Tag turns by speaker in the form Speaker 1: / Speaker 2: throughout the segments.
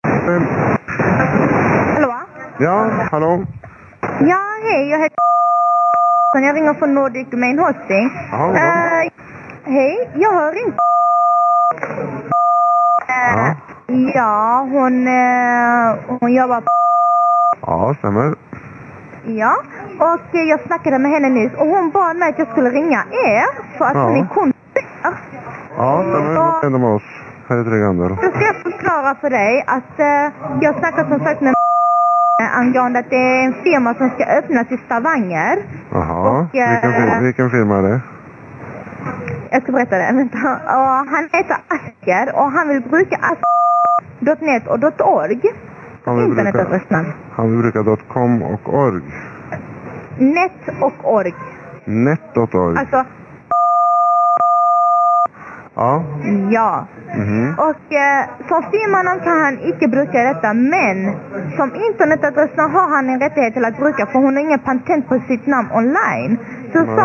Speaker 1: Daniel.
Speaker 2: Hallå?
Speaker 1: Ja, hallå?
Speaker 2: Ja, hej, jag heter Kan Jag ringer från Nordic Domain Hosting.
Speaker 1: Jaha, vad bra.
Speaker 2: Eh, hej, jag har ringt. Eh, ja, hon, eh, hon jobbar på...
Speaker 1: Ja, stämmer.
Speaker 2: Ja, och eh, jag snackade med henne nyss och hon bad mig att jag skulle ringa er för att
Speaker 1: Ja.
Speaker 2: hon är konstnär.
Speaker 1: Ja, stämmer. Vad hände med oss här i Tre Gander?
Speaker 2: Då ska jag förklara för dig att eh, jag snackade som sagt med angående att det är en firma som ska öppnas i Stavanger.
Speaker 1: Jaha.
Speaker 2: Och, eh,
Speaker 1: Vilken, fir- vilken firma är det?
Speaker 2: Jag ska berätta det. Vänta. Och han heter Asker och han vill bruka asker.net och .org.
Speaker 1: Han vill bruka-
Speaker 2: Internetadressen.
Speaker 1: Han vill bruka .com och org.
Speaker 2: Net och org.
Speaker 1: Net.org.
Speaker 2: Alltså,
Speaker 1: Ja.
Speaker 2: ja.
Speaker 1: Mhm.
Speaker 2: Och eh, som styrmannen kan han icke bruka detta, men som internetadressen har han en rättighet till att bruka för hon har ingen patent på sitt namn online. Så
Speaker 1: Nej.
Speaker 2: sa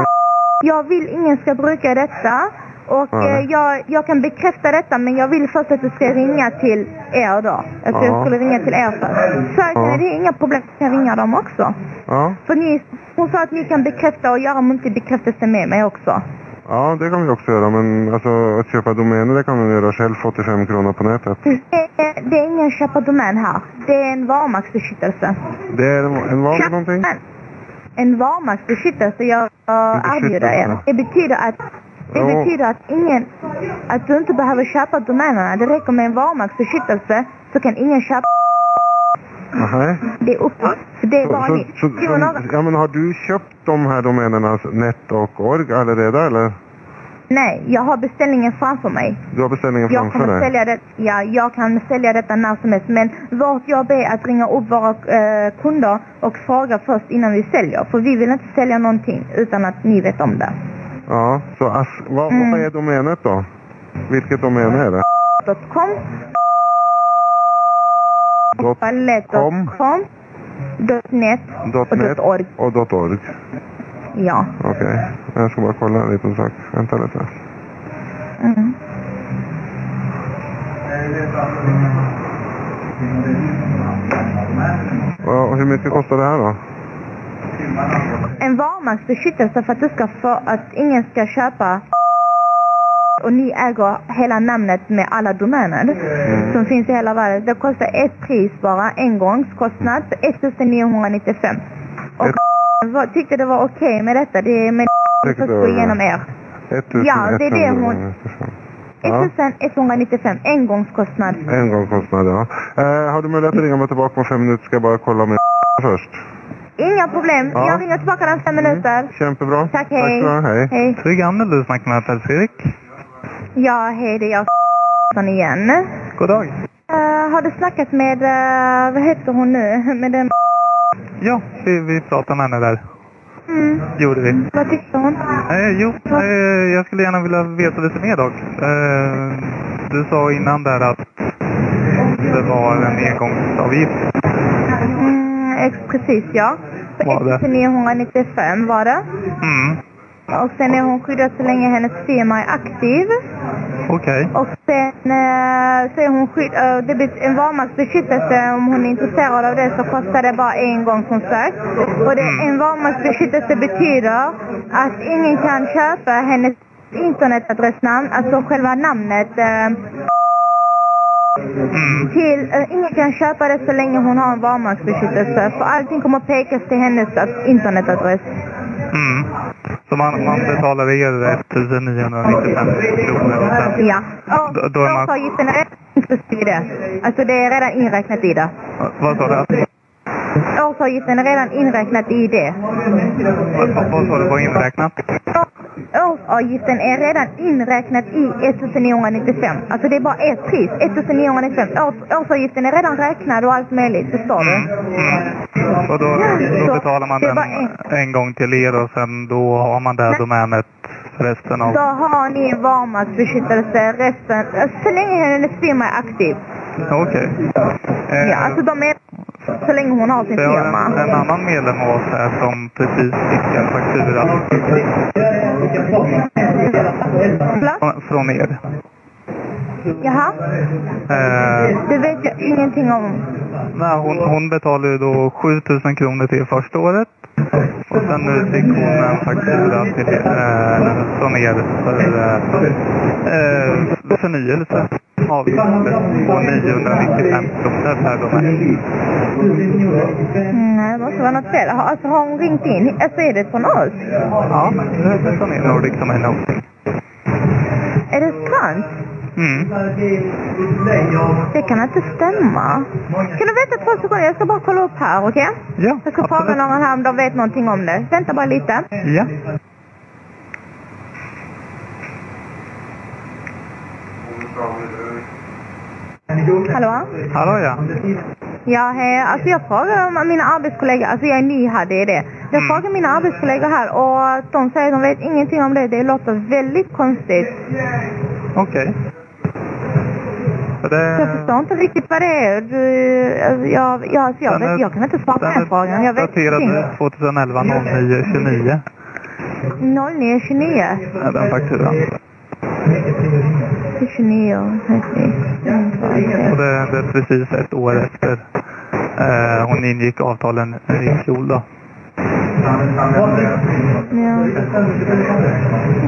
Speaker 2: jag vill ingen ska bruka detta och
Speaker 1: Nej.
Speaker 2: eh, jag, jag kan bekräfta detta men jag vill först att du ska ringa till er då. Jag tror
Speaker 1: Ja.
Speaker 2: jag skulle ringa till er först. Så jag
Speaker 1: Ja.
Speaker 2: kan- det är inga problem, jag kan ringa dem också.
Speaker 1: Ja.
Speaker 2: För ni, hon sa att ni kan bekräfta och göra muntlig bekräftelse med mig också.
Speaker 1: Ja, det kan vi också göra. Men alltså, att köpa domäner det kan man göra själv för 85 kronor på nätet.
Speaker 2: Mm. Det är, det är ingen köpardomän här. Det är en varumärkesbeskyttelse.
Speaker 1: Det är en, en vad för någonting?
Speaker 2: En varumärkesbeskyttelse jag uh, erbjuder er.
Speaker 1: Beskyttelse.
Speaker 2: Det betyder att det
Speaker 1: Ja.
Speaker 2: betyder att ingen, att du inte behöver köpa domänerna. Det räcker med en varumärkesbeskyttelse så kan ingen köpa
Speaker 1: Nej.
Speaker 2: det är upp. För det är bara
Speaker 1: Så,
Speaker 2: ni.
Speaker 1: så,
Speaker 2: Det var några-
Speaker 1: så, ja, men har du köpt de här domänerna, alltså, net och org, allerede eller?
Speaker 2: Nej, jag har beställningen framför mig.
Speaker 1: Du har beställningen
Speaker 2: Jag
Speaker 1: framför
Speaker 2: kan,
Speaker 1: dig?
Speaker 2: sälja det, ja, jag kan sälja detta när som helst men vårt jobb är att ringa upp våra eh, kunder och fråga först innan vi säljer. För vi vill inte sälja någonting utan att ni vet om det.
Speaker 1: Ja, så as- vad,
Speaker 2: Mm.
Speaker 1: vad är domänet då? Vilket domän är det?
Speaker 2: .com,
Speaker 1: Dot,
Speaker 2: balett.com, .net
Speaker 1: dot
Speaker 2: och
Speaker 1: net
Speaker 2: .org.
Speaker 1: och dot .org.
Speaker 2: Ja.
Speaker 1: Okej, jag ska bara kolla en liten sak. Vänta lite.
Speaker 2: Mm.
Speaker 1: Och, och hur mycket kostar det här då?
Speaker 2: En varumärkesbeskyttelse för att du ska få att ingen ska köpa och ni äger hela namnet med alla domäner
Speaker 1: Mm.
Speaker 2: som finns i hela världen. Det kostar ett pris bara, engångskostnad, på 1995. Och
Speaker 1: Ett-
Speaker 2: jag tyckte det var okej med detta, det är med det
Speaker 1: Tyckte
Speaker 2: får
Speaker 1: det var
Speaker 2: gå igenom
Speaker 1: bra.
Speaker 2: er.
Speaker 1: 1100
Speaker 2: Ja, det är det hon-
Speaker 1: kronor. Ja.
Speaker 2: 1195, engångskostnad.
Speaker 1: En gång kostnaden, ja. Eh, har du möjlighet att ringa mig tillbaka om fem minuter? Ska jag bara kolla med först.
Speaker 2: Inga problem,
Speaker 1: Ja. Mm.
Speaker 2: jag ringer tillbaka om fem minuter.
Speaker 1: Kämpebra.
Speaker 2: Tack,
Speaker 1: Tack
Speaker 2: hej.
Speaker 1: så mycket. Hej.
Speaker 2: Hej.
Speaker 3: Tryggander, du snackar med Pels-Erik.
Speaker 2: Ja, hej, det är jag igen.
Speaker 3: God dag.
Speaker 2: Eh, har du snackat med, eh, vad heter hon nu, med den
Speaker 3: Ja, vi, vi pratade med henne där.
Speaker 2: Mm.
Speaker 3: Gjorde vi.
Speaker 2: Vad tyckte hon?
Speaker 3: Eh, jo, eh, jag skulle gärna vilja veta lite mer dock. Eh, du sa innan där att det var en engångsavgift.
Speaker 2: Mm, ex- precis ja. På
Speaker 3: Var det?
Speaker 2: 1995 var det.
Speaker 3: Mm,
Speaker 2: Och sen är hon skyddad så länge hennes firma är aktiv.
Speaker 3: okej.
Speaker 2: Och sen eh, så är hon skyddad, det blir en varumärkesbeskyttelse om hon är intresserad av det så kostar det bara en gång som sagt. Och det,
Speaker 3: Mm.
Speaker 2: en varumärkesbeskyttelse betyder att ingen kan köpa hennes internetadressnamn, alltså själva namnet eh,
Speaker 3: Mm,
Speaker 2: till, eh, ingen kan köpa det så länge hon har en varumärkesbeskyttelse för allting kommer pekas till hennes ad- internetadress.
Speaker 3: mm. Så man, man betalar er 1995 kronor och sen...
Speaker 2: Ja. Och
Speaker 3: Då- då är man-
Speaker 2: årsavgiften är inklusive det. Alltså det är redan inräknat i det.
Speaker 3: Vad sa du?
Speaker 2: Årsavgiften är redan inräknat i det.
Speaker 3: Vad, vad sa du var inräknat?
Speaker 2: Årsavgiften är redan inräknat i 1995. Alltså det är bara ett pris, 1995. Års, årsavgiften är redan räknad och allt möjligt, förstår du?
Speaker 3: Mm, mm. Och då, då betalar man
Speaker 2: Det
Speaker 3: den
Speaker 2: var en-
Speaker 3: en gång till er och sen då har man det här domänet resten av...
Speaker 2: Så har ni en varumärkesbeskyttelse resten, eh, så länge hennes firma är aktiv.
Speaker 3: Okej. Eh,
Speaker 2: Ja, alltså de är så länge hon har sin
Speaker 3: Vi har en,
Speaker 2: firma.
Speaker 3: en annan medlem av oss här som precis fick en faktura
Speaker 2: Förlåt?
Speaker 3: från- från er.
Speaker 2: Jaha?
Speaker 3: Eh,
Speaker 2: Det vet jag ingenting om.
Speaker 3: nej, hon, hon betalade ju då 7000 kronor till första året. Och sen nu fick hon en faktura till, eh, från er för eh, eh, förnyelse av på 995 kronor per domän.
Speaker 2: Mm, Nej, det måste vara något fel. Har- Alltså har hon ringt in? Alltså är det från oss?
Speaker 3: Ja, det är Nordic som är någonting.
Speaker 2: Är det sant?
Speaker 3: Mm.
Speaker 2: Det kan inte stämma. Kan du vänta två sekunder? Jag ska bara kolla upp här, okej?
Speaker 3: Ja,
Speaker 2: Jag ska fråga någon här om de vet någonting om det. Vänta bara lite.
Speaker 3: Ja.
Speaker 2: Hallå?
Speaker 3: Hallå ja.
Speaker 2: Ja, hej. Alltså jag frågar om mina arbetskollegor, alltså jag är ny här, det är det. Jag
Speaker 3: Mm.
Speaker 2: frågar mina arbetskollegor här och de säger att de vet ingenting om det. Det låter väldigt konstigt.
Speaker 3: Okej. För det-
Speaker 2: Jag förstår inte riktigt vad det är. Du, jag, jag, alltså jag,
Speaker 3: Den
Speaker 2: vet,
Speaker 3: är-
Speaker 2: jag kan inte svara på den här frågan. Jag vet ingenting.
Speaker 3: daterad 2011 09 29
Speaker 2: 0929.
Speaker 3: är den fakturan.
Speaker 2: 29.
Speaker 3: Och det, det är precis ett år efter eh, hon ingick avtalen i fjol då.
Speaker 2: Ja.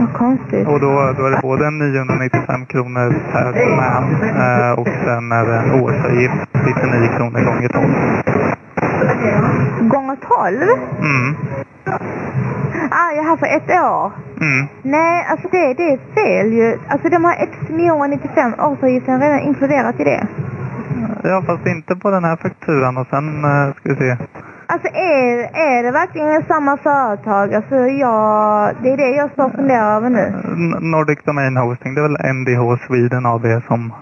Speaker 2: Vad konstigt.
Speaker 3: Och då, då är det både 995 kronor per domän eh, och sen är det en årsavgift 99 kronor gånger 12.
Speaker 2: Gånger 12?
Speaker 3: Mm.
Speaker 2: Ah, jag har för ett år.
Speaker 3: Mm.
Speaker 2: Nej, alltså det, det är fel ju. Alltså de har 1995 årsavgiften redan inkluderat i det.
Speaker 3: Ja, fast inte på den här fakturan och sen eh, ska vi se.
Speaker 2: Alltså är, är det verkligen samma företag? Alltså jag, det är det jag står och funderar över nu.
Speaker 3: N- Nordic Domain Hosting, det är väl NDH Sweden AB som,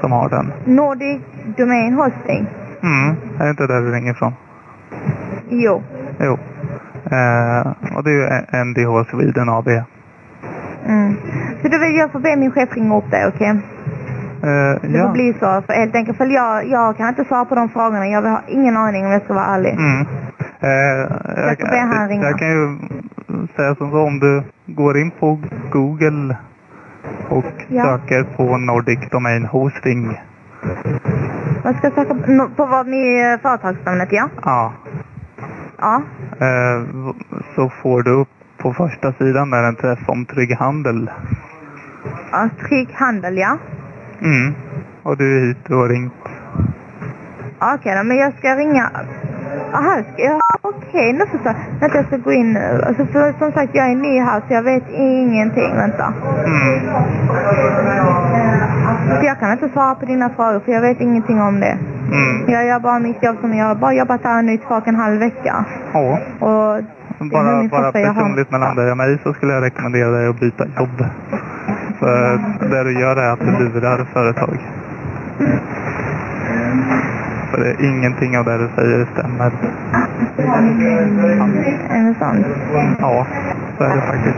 Speaker 3: som har den?
Speaker 2: Nordic Domain Hosting.
Speaker 3: Mm, är det inte där du ringer ifrån?
Speaker 2: Jo.
Speaker 3: Jo. Eh, och det är ju Ä- NDH Sweden AB. Eh,
Speaker 2: Mm. Så då vill jag få be min chef ringa upp dig, okej? Det får
Speaker 3: Eh, ja.
Speaker 2: bli så, för helt enkelt. För jag, jag kan inte svara på de frågorna. Jag har ingen aning om jag ska vara ärlig.
Speaker 3: Mm. Eh, jag,
Speaker 2: får be han
Speaker 3: jag-
Speaker 2: ringa.
Speaker 3: jag kan ju säga som så om du går in på Google och
Speaker 2: Ja.
Speaker 3: söker på Nordic Domain Hosting.
Speaker 2: Man ska söka på, no- på vad ni företagsnamnet, ja?
Speaker 3: Ja.
Speaker 2: Ja.
Speaker 3: Eh, v- så får du upp på första sidan där en träff om trygg handel.
Speaker 2: ja trygg handel, ja.
Speaker 3: Mm. Och du är hit du har ringt.
Speaker 2: Ja, Okej då, men jag ska ringa... Aha, ska jag... Okej, nu förstår jag. Vänta, jag ska gå in nu. Alltså, för, som sagt, jag är ny här så jag vet ingenting. Vänta.
Speaker 3: Mm.
Speaker 2: Så jag kan inte svara på dina frågor för jag vet ingenting om det.
Speaker 3: Mm.
Speaker 2: Jag gör bara mitt jobb som jag har bara jobbat här nu i två och en halv vecka.
Speaker 3: Ja.
Speaker 2: Och Det är
Speaker 3: Bara,
Speaker 2: min
Speaker 3: bara
Speaker 2: pappa jag har.
Speaker 3: personligt mellan dig och mig så skulle jag rekommendera dig att byta jobb. För det du gör är att du lurar företag. För det är ingenting av det du säger stämmer.
Speaker 2: är det sant?
Speaker 3: Ja, så är det faktiskt.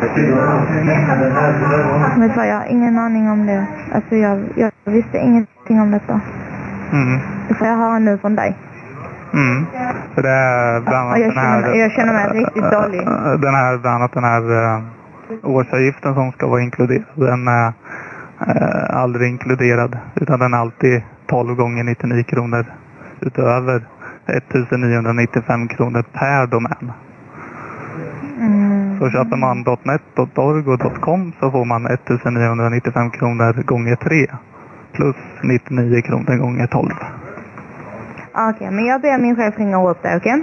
Speaker 2: Vet du vad, jag har ingen aning om det. Alltså jag, jag visste ingenting om detta.
Speaker 3: Mm.
Speaker 2: Det får jag höra nu från dig.
Speaker 3: Mm. För det är
Speaker 2: Ja,
Speaker 3: bland annat
Speaker 2: jag
Speaker 3: den
Speaker 2: känner
Speaker 3: här... eh,
Speaker 2: mig- jag känner mig riktigt dålig.
Speaker 3: Den här, bland annat den här eh, årsavgiften som ska vara inkluderad. Den är eh, aldrig inkluderad. Utan den är alltid 12 gånger 99 kronor utöver 1995 kronor per domän.
Speaker 2: Mm.
Speaker 3: Så köper man .net, .org och .com så får man 1995 kronor gånger 3. Plus 99 kronor gånger 12.
Speaker 2: Okej, men jag ber min chef ringa upp dig, okej?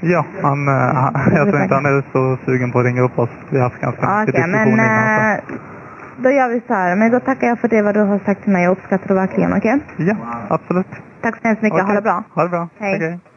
Speaker 3: Ja, han, eh, han, jag tror inte han är så sugen på att ringa upp oss. Vi har haft ganska
Speaker 2: Okej,
Speaker 3: mycket diskussion
Speaker 2: men
Speaker 3: innan.
Speaker 2: eh, då gör vi så här. Men då tackar jag för det vad du har sagt till mig. Jag uppskattar det verkligen, okej?
Speaker 3: Så. Ja, absolut.
Speaker 2: Tack så hemskt mycket.
Speaker 3: Okej.
Speaker 2: eh, Ha det bra.
Speaker 3: Ha det bra.
Speaker 2: Hej.
Speaker 3: Okej.